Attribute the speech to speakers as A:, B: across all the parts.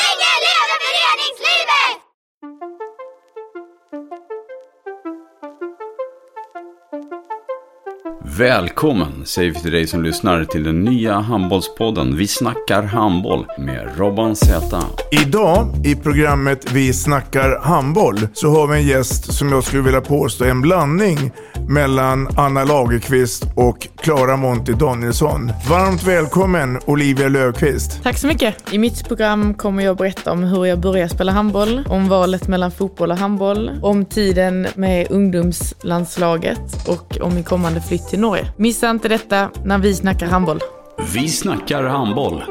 A: Länge leve föreningslivet!
B: Välkommen säger vi till dig som lyssnar till den nya handbollspodden Vi snackar handboll med Robban Z.
C: Idag i programmet Vi snackar handboll så har vi en gäst som jag skulle vilja påstå är en blandning mellan Anna Lagerqvist och Klara Monty Danielsson. Varmt välkommen Olivia Löfqvist.
D: Tack så mycket. I mitt program kommer jag berätta om hur jag började spela handboll, om valet mellan fotboll och handboll, om tiden med ungdomslandslaget och om min kommande flytt till Norge. Missa inte detta när vi snackar handboll.
B: Vi snackar handboll.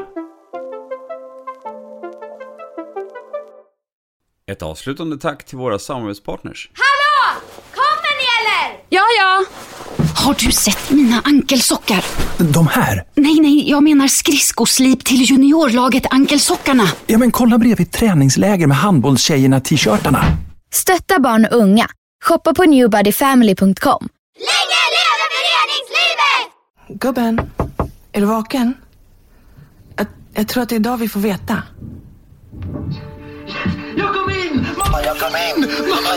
B: Ett avslutande tack till våra samarbetspartners.
A: Hallå! Kommer ni eller?
E: Ja, ja. Har du sett mina ankelsockar?
F: De här?
E: Nej, nej, jag menar skridskoslip till juniorlaget Ankelsockarna.
F: Ja, men kolla bredvid träningsläger med handbollstjejerna-t-shirtarna.
G: Stötta barn och unga. Shoppa på newbodyfamily.com.
A: Länge leve föreningslivet!
H: Gubben, är du vaken? Jag, jag tror att det är idag vi får veta.
I: Jag kom in! Mamma, jag kom in! Mamma,